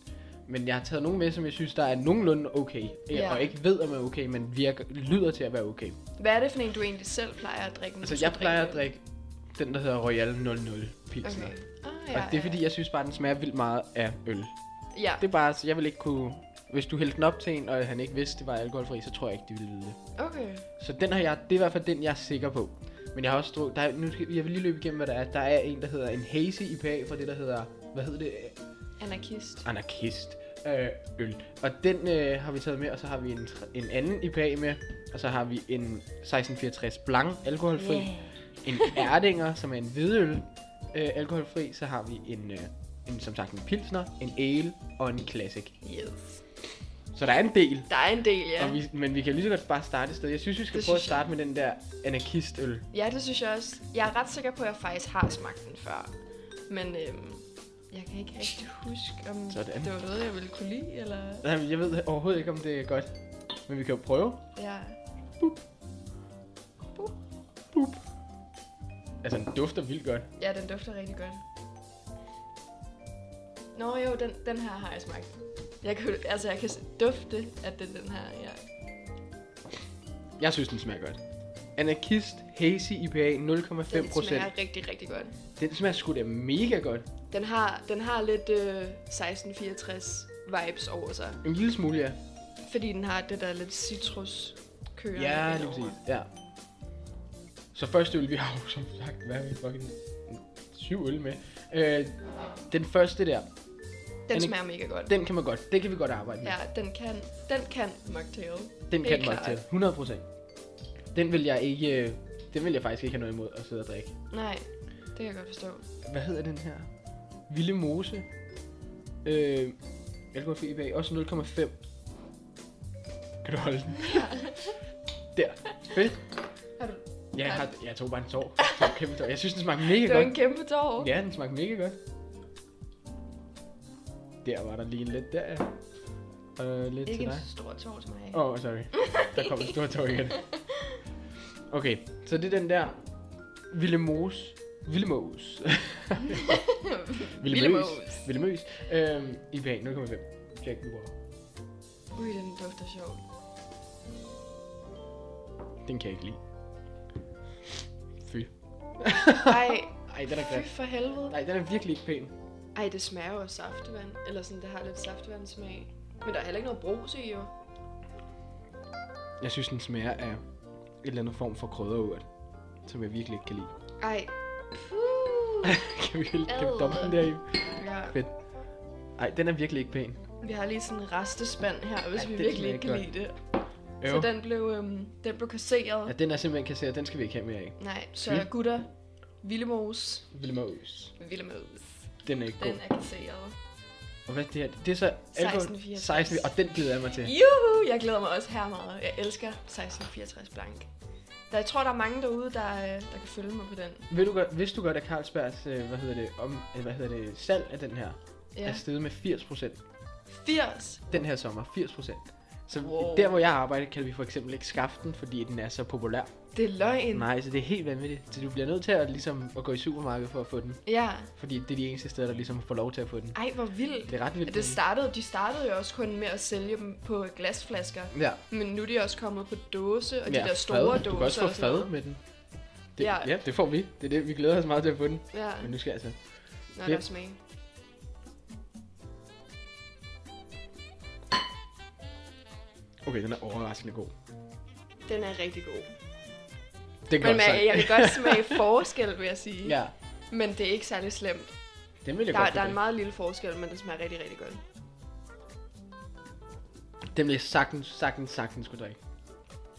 Speaker 3: men jeg har taget nogen med, som jeg synes, der er nogenlunde okay.
Speaker 2: Ja.
Speaker 3: Ja. Og ikke ved, om er okay, men virker, lyder til at være okay.
Speaker 2: Hvad er det for en, du egentlig selv plejer at drikke? når
Speaker 3: Altså,
Speaker 2: du
Speaker 3: jeg
Speaker 2: skal
Speaker 3: plejer at
Speaker 2: det?
Speaker 3: drikke den, der hedder Royal 00 Pilsner.
Speaker 2: Okay.
Speaker 3: Okay.
Speaker 2: Ah,
Speaker 3: Ja,
Speaker 2: ja,
Speaker 3: og det er fordi, jeg synes bare, den smager vildt meget af øl.
Speaker 2: Ja,
Speaker 3: Det er bare, så jeg vil ikke kunne... Hvis du hældte den op til en, og han ikke vidste, det var alkoholfri, så tror jeg ikke, de ville vide det.
Speaker 2: okay.
Speaker 3: Så den har jeg, det er i hvert fald den, jeg er sikker på. Men jeg har også drukket, der er, nu skal, jeg vil lige løbe igennem, hvad der er. Der er en, der hedder en hazy IPA fra det, der hedder, hvad hedder det? Øh,
Speaker 2: Anarkist.
Speaker 3: Anarkist øh, øl. Og den øh, har vi taget med, og så har vi en, tr- en anden IPA med. Og så har vi en 1664 Blanc, alkoholfri.
Speaker 2: Yeah.
Speaker 3: Yeah. En Erdinger, som er en hvidøl, øh, alkoholfri. Så har vi en, øh, en, som sagt, en Pilsner, en Ale og en Classic.
Speaker 2: Yes.
Speaker 3: Så der er en del.
Speaker 2: Der er en del, ja.
Speaker 3: Og vi, men vi kan lige så godt bare starte et sted. Jeg synes, vi skal
Speaker 2: Det
Speaker 3: prøve at
Speaker 2: synes jeg.
Speaker 3: starte med den der anarkistøl.
Speaker 2: Ja, det synes jeg også. Jeg er ret sikker på, at jeg faktisk har smagt den før. Men øhm, jeg kan ikke rigtig huske, om
Speaker 3: Sådan.
Speaker 2: det var noget, jeg ville kunne lide, eller...
Speaker 3: Nej, men jeg ved overhovedet ikke, om det er godt. Men vi kan jo prøve.
Speaker 2: Ja.
Speaker 3: Altså, den dufter vildt godt.
Speaker 2: ja, den dufter rigtig godt. Nå jo, den, den her har jeg smagt. Jeg kan, altså, jeg kan s- dufte, at det er den her, ja.
Speaker 3: Jeg synes, den smager godt. Anarkist Hazy IPA 0,5
Speaker 2: Den
Speaker 3: procent.
Speaker 2: smager rigtig, rigtig godt.
Speaker 3: Den smager sgu da mega godt.
Speaker 2: Den har, den har lidt øh, 1664 vibes over sig.
Speaker 3: En lille smule, ja.
Speaker 2: Fordi den har det der lidt citrus kører
Speaker 3: Ja, lige præcis. Ja. Så første øl, vi har jo som sagt, hvad er vi fucking syv øl med. Øh, den første der,
Speaker 2: Den
Speaker 3: Anne-
Speaker 2: smager mega godt.
Speaker 3: den kan man godt, det kan vi godt arbejde med.
Speaker 2: Ja, den kan, den kan mocktail.
Speaker 3: Den
Speaker 2: Helt
Speaker 3: kan mig
Speaker 2: klart.
Speaker 3: til, 100 procent. Den vil jeg ikke, øh, den vil jeg faktisk ikke have noget imod at sidde og drikke.
Speaker 2: Nej, det kan jeg godt forstå.
Speaker 3: hvad hedder den her? Ville Mose. Øh, alkoholfri IPA, også 0,5. Kan du holde den? Der. Fedt.
Speaker 2: Har du...
Speaker 3: Ja, jeg,
Speaker 2: Ej.
Speaker 3: har, jeg tog bare en tår. Jeg tog en Kæmpe tår. Jeg synes, den smagte
Speaker 2: Det
Speaker 3: mega
Speaker 2: var en
Speaker 3: godt.
Speaker 2: kæmpe tår.
Speaker 3: Ja, den smagte mega godt. Der var der lige lidt der, ja. Og lidt
Speaker 2: Ikke
Speaker 3: til
Speaker 2: en
Speaker 3: dig.
Speaker 2: så stor tår til mig.
Speaker 3: Åh, oh, sorry. Der kom en stor tår igen. Okay, så det er den der Ville Mose. Ville Mose. Ville Møs.
Speaker 2: Mose.
Speaker 3: Ville Møs. Øhm, IPA 0,5. Jack Brewer.
Speaker 2: Ui, den dufter sjovt.
Speaker 3: Den kan jeg ikke lide. Fy.
Speaker 2: Ej,
Speaker 3: Ej, den er
Speaker 2: fy
Speaker 3: grim.
Speaker 2: for helvede.
Speaker 3: Nej, den er virkelig ikke pæn.
Speaker 2: Ej, det smager jo af saftevand. Eller sådan, det har lidt saftevandsmag. Men der er heller ikke noget brus i, jo.
Speaker 3: Jeg synes, den smager af et eller andet form for krydderurt, som jeg virkelig ikke kan lide.
Speaker 2: Ej. Puh.
Speaker 3: kan vi, kan vi
Speaker 2: Ad.
Speaker 3: dumpe den der i?
Speaker 2: Ja,
Speaker 3: Fedt. Ej, den er virkelig ikke pæn.
Speaker 2: vi har lige sådan en restespand her, hvis Ej,
Speaker 3: Ej,
Speaker 2: vi
Speaker 3: det
Speaker 2: virkelig
Speaker 3: smager
Speaker 2: ikke kan
Speaker 3: ikke
Speaker 2: lide det.
Speaker 3: Øv.
Speaker 2: Så den blev, øhm, den blev kasseret.
Speaker 3: Ja, den er simpelthen kasseret. Den skal vi ikke have mere af.
Speaker 2: Nej, så
Speaker 3: Fy.
Speaker 2: gutter, Vildemos,
Speaker 3: Vilmos.
Speaker 2: Vildemos,
Speaker 3: Den er ikke god.
Speaker 2: den er kasseret.
Speaker 3: Og hvad er det her? Det er så alkohol.
Speaker 2: 16,64.
Speaker 3: 16, og den glæder jeg mig til.
Speaker 2: Juhu, jeg glæder mig også her meget. Jeg elsker 1664 Blank. Der, jeg tror, der er mange derude, der, øh, der kan følge mig på den.
Speaker 3: Ved du godt, vidste du godt, at Carlsbergs, øh, hvad hedder det, om, øh, hvad hedder det, salg af den her, ja. er
Speaker 2: Ja.
Speaker 3: steget med 80%
Speaker 2: 80.
Speaker 3: den her sommer. 80%. Så wow.
Speaker 2: Wow.
Speaker 3: der, hvor jeg arbejder, kan vi for eksempel ikke skaffe den, fordi den er så populær.
Speaker 2: Det er løgn.
Speaker 3: Nej, så det er helt vanvittigt. Så du bliver nødt til at, ligesom, at gå i supermarkedet for at få den.
Speaker 2: Ja.
Speaker 3: Fordi det er de eneste steder, der ligesom får lov til at få den.
Speaker 2: Ej, hvor vildt.
Speaker 3: Det er ret vildt.
Speaker 2: Det startede, de startede jo også kun med at sælge dem på glasflasker.
Speaker 3: ja.
Speaker 2: Men nu er de også kommet på dåse, og de
Speaker 3: ja,
Speaker 2: der store
Speaker 3: fad.
Speaker 2: dåser.
Speaker 3: Du kan også få
Speaker 2: og sådan
Speaker 3: fad
Speaker 2: noget.
Speaker 3: med den. Det, ja.
Speaker 2: Ja.
Speaker 3: ja, det får vi. Det er det, vi glæder os meget til at få den.
Speaker 2: Ja,
Speaker 3: Men nu skal jeg altså...
Speaker 2: når
Speaker 3: det-
Speaker 2: der er smag.
Speaker 3: Okay, den er overraskende god.
Speaker 2: Den er rigtig god.
Speaker 3: Det
Speaker 2: Men man, jeg kan godt smage forskel, vil jeg sige.
Speaker 3: ja,
Speaker 2: Men det er ikke særlig slemt.
Speaker 3: den vil jeg
Speaker 2: Der,
Speaker 3: godt
Speaker 2: der er en
Speaker 3: bedømme.
Speaker 2: meget lille forskel, men det smager rigtig, rigtig godt.
Speaker 3: Den vil jeg sagtens, sagtens, sagtens kunne drikke.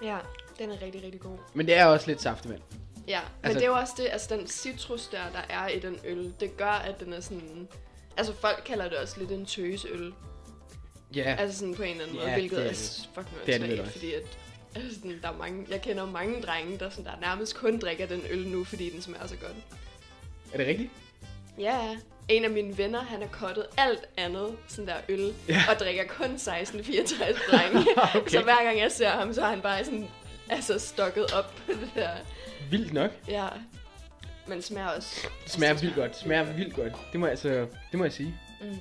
Speaker 2: Ja, den er rigtig, rigtig god.
Speaker 3: Men det er også lidt saftevand.
Speaker 2: Ja, altså, men
Speaker 3: Altså-
Speaker 2: det er jo også det, altså den citrus der, der er i den øl, det gør, at den er sådan... Altså folk kalder det også lidt en tøseøl.
Speaker 3: Ja,
Speaker 2: Altså sådan på en eller anden måde,
Speaker 3: Ja,
Speaker 2: hvilket
Speaker 3: det er
Speaker 2: er,
Speaker 3: det.
Speaker 2: er fucking
Speaker 3: Det er det
Speaker 2: åndssvagt,
Speaker 3: vel også.
Speaker 2: fordi at... Altså sådan, der er mange, jeg kender mange drenge, der, sådan, der nærmest kun drikker den øl nu, fordi den smager så godt.
Speaker 3: er det rigtigt?
Speaker 2: Ja, en af mine venner, han har kottet alt andet, sådan der øl,
Speaker 3: Ja.
Speaker 2: ja. og drikker kun 1664 drenge.
Speaker 3: Okay.
Speaker 2: okay. Så hver gang jeg ser ham, så er han bare sådan, altså stokket op på det der.
Speaker 3: Vildt nok.
Speaker 2: Ja, men smager også.
Speaker 3: Det smager vildt godt. Smager vildt godt. Det må jeg altså, det må jeg sige.
Speaker 2: Mm.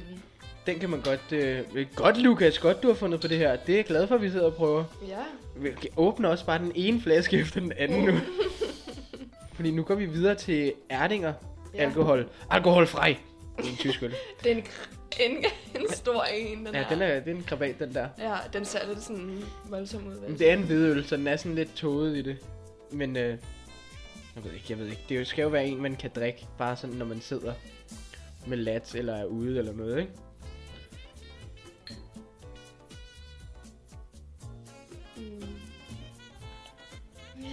Speaker 3: Den kan man godt, øh, godt Lukas, godt du har fundet på det her. Det er jeg glad for, at vi sidder og prøver.
Speaker 2: Ja,
Speaker 3: Vi åbner også bare den ene flaske efter den anden nu. Fordi nu går vi videre til Erdinger ja.
Speaker 2: Ja.
Speaker 3: alkohol. Alkoholfri. Det er en tysk øl.
Speaker 2: det er en, kr- en, en stor en, den
Speaker 3: Ja, den er, det er en krabat, den der.
Speaker 2: Ja, den ser lidt sådan voldsom ud.
Speaker 3: Men
Speaker 2: vel?
Speaker 3: det er en hvidøl, så den er sådan lidt tåget i det. Men øh, jeg ved ikke, jeg ved ikke. Det er jo- skal jo være en, man kan drikke, bare sådan, når man sidder med lat eller er ude eller noget, ikke?
Speaker 2: Mm.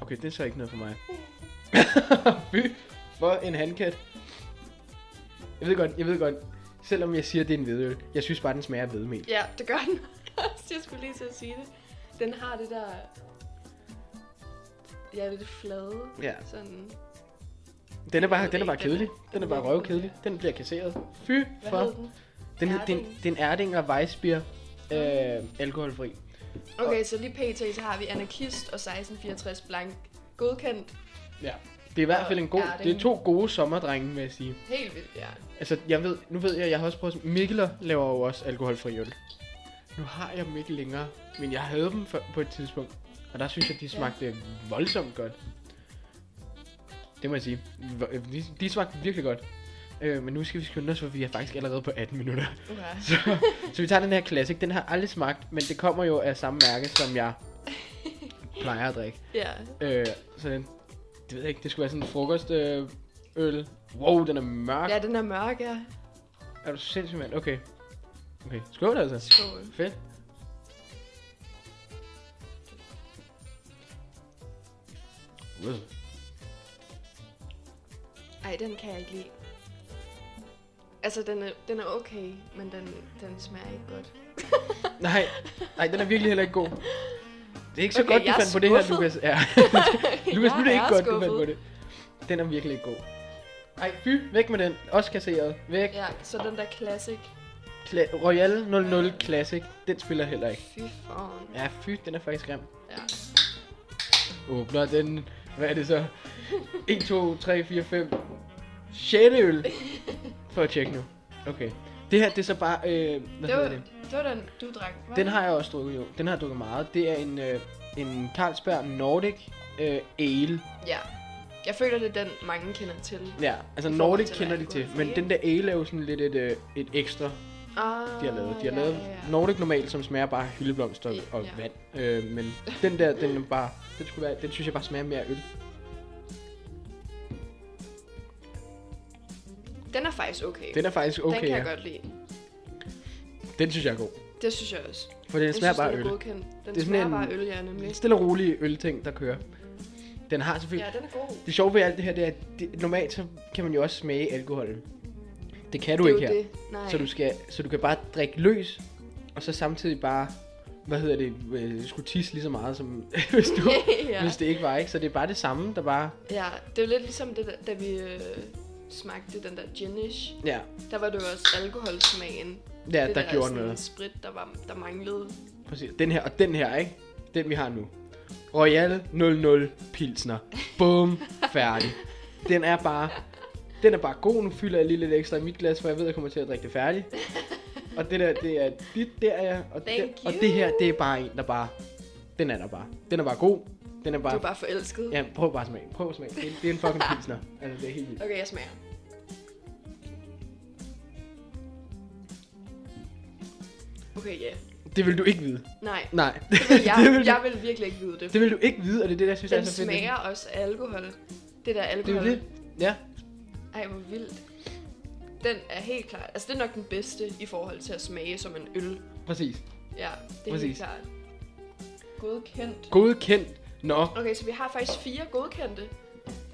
Speaker 3: Okay, det er så ikke noget for mig. Fy, for en handkat. Jeg ved godt, jeg ved godt. Selvom jeg siger, at det er en hvidøl, jeg synes bare, den smager af hvedemel.
Speaker 2: Ja, det gør den også. Jeg skulle lige til at sige det. Den har det der... Ja, lidt flade.
Speaker 3: Ja.
Speaker 2: Sådan.
Speaker 3: Den er bare,
Speaker 2: Jeg ved
Speaker 3: den er bare
Speaker 2: ikke, den er-
Speaker 3: kedelig. Den er bare røvkedelig. Den bliver kasseret. Fy
Speaker 2: Hvad
Speaker 3: for.
Speaker 2: hed den?
Speaker 3: Den, hed- den,
Speaker 2: Erdinger?
Speaker 3: den Erdinger Weissbier øh, alkoholfri.
Speaker 2: Okay, så lige pt. så har vi Anarkist og 1664 Blank. Godkendt.
Speaker 3: Ja. Det er i hvert
Speaker 2: Og
Speaker 3: fald en god, det er
Speaker 2: Erdinger.
Speaker 3: to gode sommerdrenge, vil jeg sige.
Speaker 2: Helt vildt, ja.
Speaker 3: Altså, jeg ved, nu ved jeg, jeg har også prøvet, Mikkeler laver jo også alkoholfri øl. Nu har jeg dem ikke længere, men jeg havde dem for, på et tidspunkt, og der synes jeg, de smagte ja. voldsomt godt. Det må jeg sige. Vo- øh, De, de smagte virkelig godt. Øh, men nu skal vi skynde os, for vi er faktisk allerede på 18 minutter.
Speaker 2: Okay.
Speaker 3: Så, så vi tager den her Classic. Den har jeg aldrig smagt, men det kommer jo af samme mærke, som jeg plejer at drikke.
Speaker 2: Ja.
Speaker 3: Øh, så den, det ved jeg ikke, det skulle være sådan en frokost øh, øl. Wow, den er mørk.
Speaker 2: ja, den er mørk, ja.
Speaker 3: Er du sindssyg, mand? Okay. Okay, skål altså.
Speaker 2: Skål.
Speaker 3: Fedt. Wow.
Speaker 2: Ej, den kan jeg ikke lide. Altså, den er, den er okay, men den, den smager ikke godt.
Speaker 3: Nej, nej, den er virkelig heller ikke god. Det er ikke så
Speaker 2: Okay,
Speaker 3: godt, du
Speaker 2: jeg er
Speaker 3: fandt på det her,
Speaker 2: skuffet.
Speaker 3: Lukas. Ja. Lukas, nu er det
Speaker 2: Jeg
Speaker 3: ikke
Speaker 2: er
Speaker 3: godt, du
Speaker 2: skuffet.
Speaker 3: fandt på det. Den er virkelig ikke god. Ej, fy, væk med den. Også kasseret. Væk.
Speaker 2: Ja, så den der classic.
Speaker 3: Kla- Royal 00 Classic. Den spiller heller ikke.
Speaker 2: Fy faen.
Speaker 3: Ja, fy, den er faktisk grim.
Speaker 2: Ja.
Speaker 3: Åbner den, hvad er det så? 1, 2, 3, 4, 5, 6. øl. For at tjekke nu. Okay. Det her, det er så bare, øh, hvad
Speaker 2: Det var,
Speaker 3: hedder det?
Speaker 2: det var den, du drak, hva'?
Speaker 3: Den har jeg også drukket jo. Den har jeg drukket meget. Det er en, øh, en Carlsberg Nordic øh, Ale.
Speaker 2: Ja. Jeg føler, det er den, mange kender til.
Speaker 3: Ja, altså
Speaker 2: I forhold
Speaker 3: Nordic
Speaker 2: til, hvad
Speaker 3: kender de
Speaker 2: alkohol
Speaker 3: til,
Speaker 2: er,
Speaker 3: men
Speaker 2: ikke?
Speaker 3: den der ale er jo sådan lidt et, øh, et ekstra,
Speaker 2: Ah,
Speaker 3: de har lavet. De har
Speaker 2: ja,
Speaker 3: lavet
Speaker 2: ja, ja.
Speaker 3: Nordic normalt, som smager bare af hyldeblomster
Speaker 2: Ja.
Speaker 3: og vand. Øh, men den der, den er bare, den, skulle være, den synes jeg bare smager mere af øl.
Speaker 2: Den er faktisk okay.
Speaker 3: Den er faktisk
Speaker 2: den
Speaker 3: okay.
Speaker 2: kan jeg
Speaker 3: ja.
Speaker 2: godt lide.
Speaker 3: den synes jeg er god.
Speaker 2: Det synes jeg også.
Speaker 3: For den
Speaker 2: Jeg
Speaker 3: smager
Speaker 2: synes,
Speaker 3: bare af
Speaker 2: den er
Speaker 3: øl.
Speaker 2: godkendt. Den
Speaker 3: Det er sådan
Speaker 2: smager
Speaker 3: en-
Speaker 2: bare af øl, ja,
Speaker 3: En
Speaker 2: nemlig.
Speaker 3: stille og rolig ølting, der kører. Den har selvfølgelig...
Speaker 2: Ja, den er god.
Speaker 3: Det sjove ved alt det her, det er, at det, normalt så kan man jo også smage alkoholen. Det kan du
Speaker 2: det er
Speaker 3: ikke
Speaker 2: jo
Speaker 3: her.
Speaker 2: det. Nej.
Speaker 3: Så du, skal, så du kan bare drikke løs, og så samtidig bare, hvad hedder det, øh, skulle tisse lige så meget, som hvis, du, ja.
Speaker 2: ja.
Speaker 3: hvis det ikke var, ikke? Så det er bare det samme, der bare,
Speaker 2: ja, det er jo lidt ligesom det, der, da vi øh, smagte den der ginish.
Speaker 3: ja,
Speaker 2: Der var det jo også alkoholsmagen.
Speaker 3: ja
Speaker 2: det
Speaker 3: det der, gjorde
Speaker 2: sådan
Speaker 3: noget.
Speaker 2: sprit, der, var, der manglede.
Speaker 3: Præcis. Den her, og den her, ikke? Den vi har nu. Royal 00 Pilsner. Bum. Færdig. Den er bare... Den er bare god. Nu fylder jeg lige lidt ekstra i mit glas, for jeg ved, at jeg kommer til at drikke det færdigt. Og det der, det er dit der, ja. Og,
Speaker 2: Thank
Speaker 3: det, og
Speaker 2: you.
Speaker 3: det her, det er bare en, der bare... Den er der bare. Den er bare god. Den er
Speaker 2: Du
Speaker 3: bare...
Speaker 2: er bare forelsket.
Speaker 3: Ja, prøv bare at smage. Prøv at smage. Det, det er en fucking pilsner. Altså, det er helt vildt.
Speaker 2: Okay, jeg smager. Okay, ja.
Speaker 3: Det vil du ikke vide.
Speaker 2: Nej.
Speaker 3: Nej.
Speaker 2: Det vil jeg,
Speaker 3: det, vil du,
Speaker 2: jeg vil virkelig ikke vide det.
Speaker 3: det vil du ikke vide, og det er det, der synes, jeg
Speaker 2: Den
Speaker 3: er så fedt.
Speaker 2: smager også af alkohol. Det der
Speaker 3: Det er
Speaker 2: alkohol.
Speaker 3: jo det. Ja.
Speaker 2: Ej, hvor vildt. Den er helt klart. Altså, det er nok den bedste i forhold til at smage som en øl.
Speaker 3: Præcis.
Speaker 2: Ja, det er
Speaker 3: Præcis.
Speaker 2: helt klart. Godkendt.
Speaker 3: Godkendt. Nå,
Speaker 2: Okay, så vi har faktisk fire godkendte.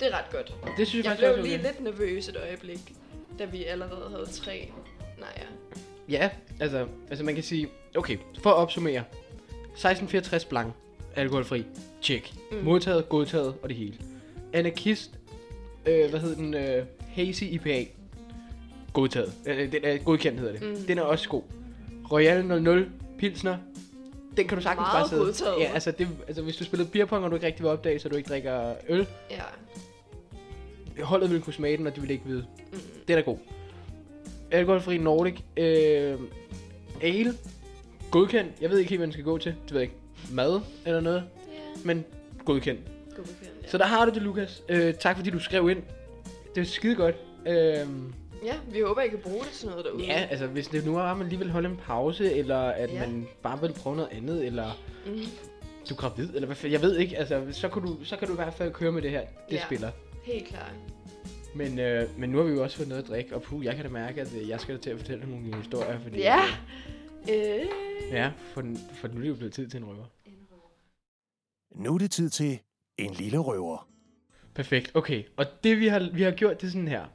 Speaker 2: Det er ret godt.
Speaker 3: det synes
Speaker 2: Jeg
Speaker 3: jeg, faktisk også
Speaker 2: blev
Speaker 3: er
Speaker 2: lige
Speaker 3: okay.
Speaker 2: lidt nervøs et øjeblik, da vi allerede havde tre. Nej, ja.
Speaker 3: Ja, altså, altså man kan sige, okay, for at opsummere. 1664 blank, alkoholfri, tjek. Mm. Modtaget, godtaget og det hele. Anarkist, øh, hvad hedder den, øh, Hazy IPA, godtaget. Øh, den er godkendt hedder det. Mm. Den er også god. Royal 00 Pilsner, den kan du sagtens
Speaker 2: Meget
Speaker 3: bare sidde.
Speaker 2: godtaget.
Speaker 3: Ja, altså, det, altså hvis du spillede beerpong, og du ikke rigtig vil opdage, så du ikke drikker øl,
Speaker 2: Ja,
Speaker 3: holdet ville kunne smage den, og de ville ikke vide. Mm. Det er da god. Alkoholfri Nordic. Øh, ale. Godkendt. Jeg ved ikke helt, hvad den skal gå til. Det ved jeg ikke. Mad eller noget.
Speaker 2: Ja.
Speaker 3: Men godkendt.
Speaker 2: godkendt, ja.
Speaker 3: Så der har du det, Lukas. Øh, tak fordi du skrev ind. Det er skide godt. Øh,
Speaker 2: ja, vi håber, I kan bruge det til noget derude.
Speaker 3: ja, altså hvis det nu var, at man lige vil holde en pause, eller at
Speaker 2: Ja.
Speaker 3: ja. man bare vil prøve noget andet, eller
Speaker 2: Mm,
Speaker 3: du er gravid, eller hvad fanden- jeg ved ikke, altså så kan du, så kan du i hvert fald køre med det her. Det
Speaker 2: Ja.
Speaker 3: ja. spiller.
Speaker 2: helt klart.
Speaker 3: Men, øh, men nu har vi jo også fået noget at drikke, og puh, jeg kan da mærke, at øh, jeg skal da til at fortælle nogle historier, fordi...
Speaker 2: Ja.
Speaker 3: øh,
Speaker 2: Øh.
Speaker 3: Ja, for, den- for nu er det jo blevet tid til en røver.
Speaker 1: Nu er det tid til en lille røver.
Speaker 3: Perfekt, okay. Og det vi har, vi har gjort, det er sådan her.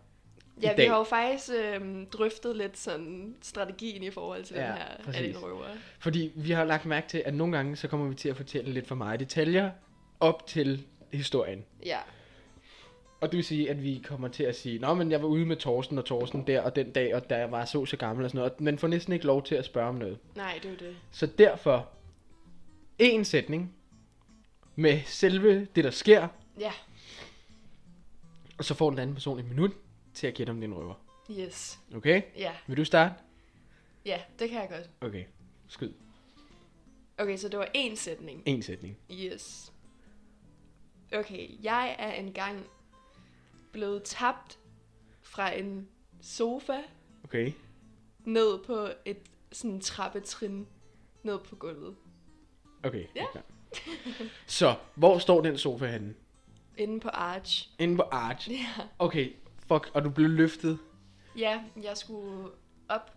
Speaker 2: Ja, vi
Speaker 3: dag.
Speaker 2: har jo faktisk øhm, drøftet lidt sådan strategien i forhold til ja, den
Speaker 3: Ja,
Speaker 2: her
Speaker 3: præcis.
Speaker 2: algenrøver.
Speaker 3: Fordi vi har lagt mærke til, at nogle gange, så kommer vi til at fortælle lidt for meget detaljer op til historien.
Speaker 2: Ja,
Speaker 3: Og det vil sige, at vi kommer til at sige, Nå, men jeg var ude med Torsten og Torsten der og den dag, og der var så så gammel og sådan noget. Og Man får næsten ikke lov til at spørge om noget.
Speaker 2: nej, det er jo det.
Speaker 3: Så derfor, en sætning med selve det, der sker,
Speaker 2: Ja,
Speaker 3: og så får den anden person et minut til at gætte, om det er en røver.
Speaker 2: yes.
Speaker 3: Okay?
Speaker 2: Ja,
Speaker 3: Vil du starte?
Speaker 2: ja, det kan jeg godt.
Speaker 3: Okay. Skyd.
Speaker 2: Okay, så det var én sætning.
Speaker 3: En sætning.
Speaker 2: Yes. Okay, jeg er engang blevet tabt fra en sofa
Speaker 3: Okay.
Speaker 2: ned på et sådan trappetrin ned på gulvet.
Speaker 3: Okay. Ja. Så, hvor står den sofa henne?
Speaker 2: Inde på Arch.
Speaker 3: Inde på Arch.
Speaker 2: Ja.
Speaker 3: Okay, fuck, og du blev løftet.
Speaker 2: ja, jeg skulle op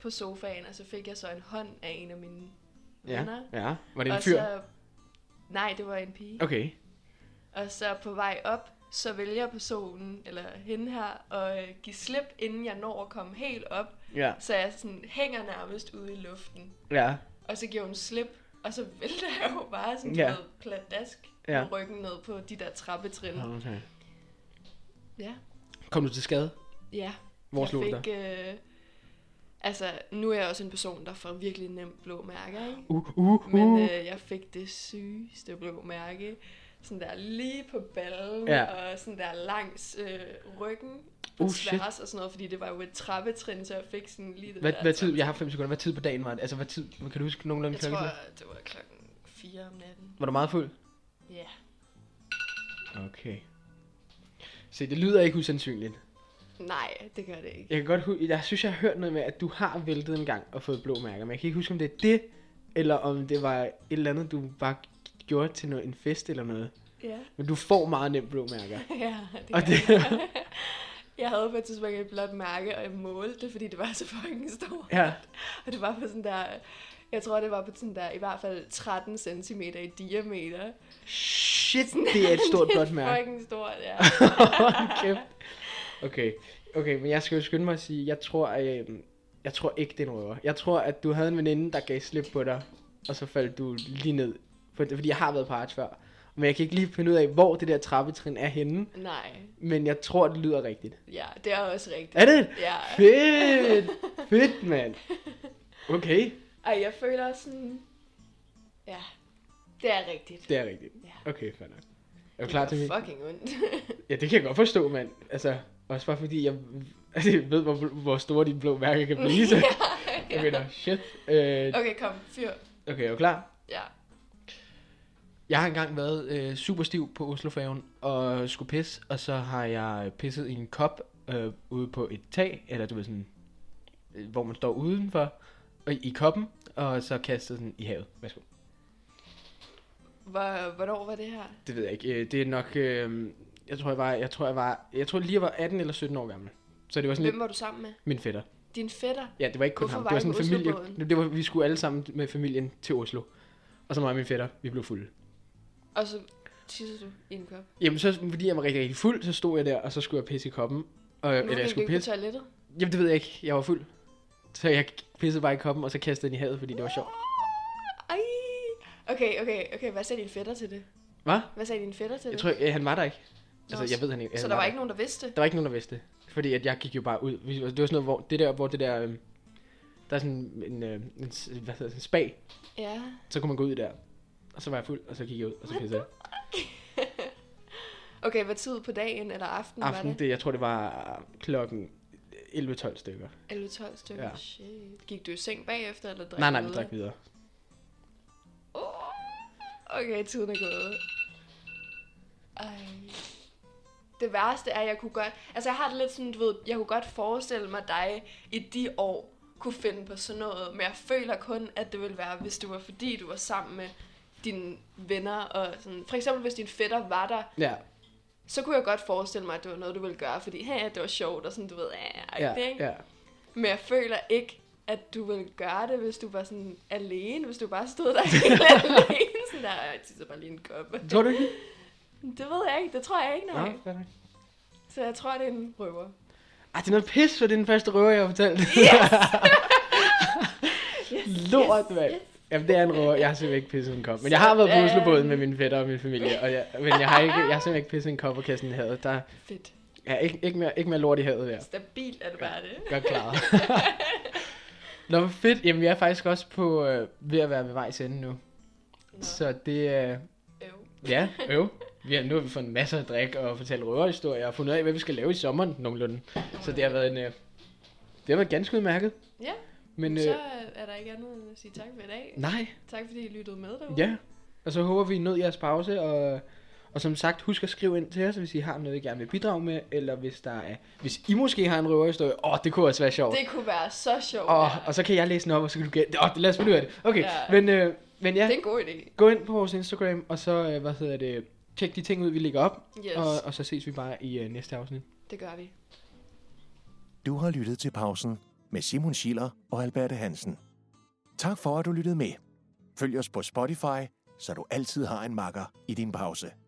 Speaker 2: på sofaen, og så fik jeg så en hånd af en af mine venner.
Speaker 3: Ja, ja. Var det en
Speaker 2: og
Speaker 3: fyr?
Speaker 2: Så... Nej, det var en pige.
Speaker 3: Okay.
Speaker 2: Og så på vej op, så vælger personen, eller hende her, at øh, give slip, inden jeg når at komme helt op.
Speaker 3: Ja,
Speaker 2: Så jeg sådan hænger nærmest ude i luften.
Speaker 3: ja,
Speaker 2: Og så giver hun slip, og så vælter jeg jo bare sådan
Speaker 3: Ja.
Speaker 2: ja. noget pladask
Speaker 3: Ja.
Speaker 2: med ryggen ned på de der trappetrin. Ja.
Speaker 3: okay.
Speaker 2: Ja.
Speaker 3: Kom du til skade?
Speaker 2: ja.
Speaker 3: Hvor
Speaker 2: jeg
Speaker 3: slog det
Speaker 2: fik, øh, Altså, nu er jeg også en person, der får virkelig nemt blå mærker, ikke?
Speaker 3: Uh, uh, uh.
Speaker 2: Men øh, jeg fik det sygeste blå mærke. Sådan der lige på ballen,
Speaker 3: Ja.
Speaker 2: ja. og sådan der langs øh, ryggen på
Speaker 3: Uh, shit.
Speaker 2: tværs og sådan noget, fordi det var jo et trappetrin, så jeg fik sådan lige det
Speaker 3: hvad,
Speaker 2: der.
Speaker 3: hvad tid? Jeg har 5 sekunder. Hvad tid på dagen var det? Altså, hvad tid? Kan du huske nogenlunde
Speaker 2: altså- Jeg tror,
Speaker 3: klokken?
Speaker 2: det var klokken 4 om natten.
Speaker 3: Var du meget fuld?
Speaker 2: Ja.
Speaker 3: Okay. Se, det lyder ikke usandsynligt.
Speaker 2: Nej, det gør det ikke.
Speaker 3: Jeg kan godt hu- jeg synes, jeg har hørt noget med, at du har væltet en gang og fået blå mærker, men jeg kan ikke huske, om det er det, eller om det var et eller andet, du bare gjorde til noget, en fest eller noget.
Speaker 2: Ja.
Speaker 3: Men du får meget nemt blå mærker.
Speaker 2: ja det
Speaker 3: Og
Speaker 2: gør
Speaker 3: det-
Speaker 2: jeg. jeg havde på et tidspunkt et blåt mærke, og jeg målte det, fordi det var så fucking stort.
Speaker 3: Ja,
Speaker 2: Og det var på sådan der, jeg tror det var på sådan der, i hvert fald 13 cm i diameter.
Speaker 3: shit, det er et stort blåt mærke.
Speaker 2: fucking stort, ja.
Speaker 3: Hold kæft. Okay, okay, men jeg skal jo skynde mig at sige, jeg tror, øh, jeg tror ikke, det er en røver. Jeg tror, at du havde en veninde, der gav slip på dig, og så faldt du lige ned. For- Fordi jeg har været på Arch før. Men jeg kan ikke lige finde ud af, hvor det der trappetrin er henne.
Speaker 2: Nej,
Speaker 3: Men jeg tror, det lyder rigtigt.
Speaker 2: ja, det er også rigtigt.
Speaker 3: Er det?
Speaker 2: Ja.
Speaker 3: Fedt! Fedt, mand! Okay,
Speaker 2: Ej, jeg føler sådan, ja, det er rigtigt.
Speaker 3: det er rigtigt.
Speaker 2: Ja.
Speaker 3: Okay, fair nok. Er du klar til
Speaker 2: det
Speaker 3: min?
Speaker 2: var fucking ondt.
Speaker 3: Ja, det kan jeg godt forstå, mand. Altså, også bare fordi jeg, altså, jeg ved, hvor, hvor store dine blå mærker kan blive. Så. Jeg mener, shit. Øh,
Speaker 2: okay, kom, fyr.
Speaker 3: okay, er du klar?
Speaker 2: Ja.
Speaker 3: Jeg har engang været øh, super stiv på Oslofærgen og skulle pisse, og så har jeg pisset i en kop øh, ude på et tag, eller du ved sådan, øh, hvor man står udenfor, og i koppen, og så kastet den i havet. Værsgo.
Speaker 2: Hvor, hvornår var det her?
Speaker 3: Det ved jeg ikke. Øh, Det er nok... Øh, jeg tror, jeg var... Jeg tror, jeg var... Jeg tror lige, jeg var 18 eller 17 år gammel. Så det var sådan
Speaker 2: Hvem
Speaker 3: lidt
Speaker 2: var du sammen med?
Speaker 3: min fætter.
Speaker 2: Din fætter?
Speaker 3: Ja, det var ikke kun
Speaker 2: Hvorfor
Speaker 3: ham.
Speaker 2: var
Speaker 3: Det var
Speaker 2: I
Speaker 3: sådan
Speaker 2: på
Speaker 3: en familie...
Speaker 2: Oslobåden?
Speaker 3: Det var, vi skulle alle sammen med familien til Oslo. Og så mig og min fætter. Vi blev fulde.
Speaker 2: Og så tissede du i en kop.
Speaker 3: Jamen så, fordi jeg var rigtig, rigtig fuld, så stod jeg der, og så skulle jeg pisse i koppen. Og, eller
Speaker 2: gik
Speaker 3: jeg
Speaker 2: du
Speaker 3: skulle
Speaker 2: ikke på
Speaker 3: pisse.
Speaker 2: toilettet?
Speaker 3: Jamen det ved jeg ikke. Jeg var fuld. Så jeg pissede bare i koppen, og så kastede den i havet, fordi det var sjovt.
Speaker 2: Ej. Okay, okay, okay. Hvad sagde din fætter til det?
Speaker 3: Hvad?
Speaker 2: Hvad sagde din fætter til
Speaker 3: Jeg
Speaker 2: det?
Speaker 3: tror, ikke- han var der ikke. Altså,
Speaker 2: Nå,
Speaker 3: jeg ved han ikke. Han
Speaker 2: så der var
Speaker 3: der.
Speaker 2: ikke nogen, der vidste det?
Speaker 3: Der var ikke nogen, der vidste det. Fordi at jeg gik jo bare ud. Vi- Det var sådan noget, hvor det der, hvor det der, øhm, der er sådan en, øh, en, s- hvad hedder det, en spa,
Speaker 2: Ja.
Speaker 3: så kunne man gå ud der. Og så var jeg fuld, og så gik jeg ud, og så pissede jeg.
Speaker 2: Okay, hvad tid på dagen eller aftenen var
Speaker 3: Aften,
Speaker 2: det?
Speaker 3: det, jeg tror, det var øh, klokken 11-12 stykker.
Speaker 2: 11-12 stykker.
Speaker 3: Ja.
Speaker 2: Ja. Shit. Gik du i seng bagefter, eller drak
Speaker 3: nej, nej, vi
Speaker 2: videre?
Speaker 3: drak videre.
Speaker 2: Åh, Okay, tiden er gået. Ej. Det værste er, at jeg kunne godt... Altså, jeg har det lidt sådan, du ved, jeg kunne godt forestille mig dig i de år kunne finde på sådan noget, men jeg føler kun, at det ville være, hvis det var fordi, du var sammen med dine venner og sådan. For eksempel, hvis din fætter var der,
Speaker 3: Ja,
Speaker 2: så kunne jeg godt forestille mig, at det var noget, du ville gøre, fordi hey, det var sjovt og sådan, du ved, ja,
Speaker 3: ja,
Speaker 2: ja, ikke?
Speaker 3: ja.
Speaker 2: Men jeg føler ikke, at du ville gøre det, hvis du var sådan alene, hvis du bare stod der helt alene. Sådan der, jeg tisser bare lige en kop.
Speaker 3: Tror du ikke?
Speaker 2: Det ved jeg ikke, det tror jeg ikke, nej.
Speaker 3: Nå, fair nok.
Speaker 2: Så jeg tror, det er en røver.
Speaker 3: Ej, det er noget pis, for det er den første røver, jeg har fortalt.
Speaker 2: Yes,
Speaker 3: Lort, mand. Jamen, det er en røver. Jeg har simpelthen ikke pisset en kop. Men jeg har været på
Speaker 2: Sådan.
Speaker 3: Oslobåden med min fætter og min familie, og jeg, men jeg har, ikke, jeg har simpelthen ikke pisset en kop og kastet den i havet. Der,
Speaker 2: Fedt.
Speaker 3: Ja, ikke, ikke, mere, ikke mere lort i havet der.
Speaker 2: Stabilt er det bare det.
Speaker 3: Godt klaret. Nå, hvor fedt. Jamen, vi er faktisk også på øh, ved at være ved vejs ende nu.
Speaker 2: Nå,
Speaker 3: Nå. Så det er... Øh,
Speaker 2: øv.
Speaker 3: ja, øv. Vi har, nu har vi fået en masse at drikke og fortalt røverhistorier og fundet ud af, hvad vi skal lave i sommeren nogenlunde. Så det har været en... Øh, det har været ganske udmærket.
Speaker 2: Ja,
Speaker 3: Men øh,
Speaker 2: så er der ikke andet end at sige tak for i dag.
Speaker 3: nej,
Speaker 2: Tak fordi I lyttede med derude.
Speaker 3: ja. Og så håber vi, I nød jeres pause, og, og som sagt, husk at skrive ind til os, hvis I har noget, I gerne vil bidrage med, eller hvis der er, hvis I måske har en røverhistorie, åh, det kunne også være sjovt.
Speaker 2: Det kunne være så sjovt.
Speaker 3: Og,
Speaker 2: ja.
Speaker 3: og så kan jeg læse den op, og så kan du gætte. Åh, lad os finde ud af det. Okay,
Speaker 2: Ja.
Speaker 3: men, øh, men ja,
Speaker 2: Det er en god idé.
Speaker 3: gå ind på vores Instagram, og så, øh, hvad hedder det, tjek de ting ud, vi lægger op.
Speaker 2: Yes,
Speaker 3: Og, og så ses vi bare i øh, næste afsnit.
Speaker 2: det gør vi.
Speaker 1: Du har lyttet til Pausen med Simon Schiller og Alberte Hansen. Tak for, at du lyttede med. Følg os på Spotify, så du altid har en makker i din pause.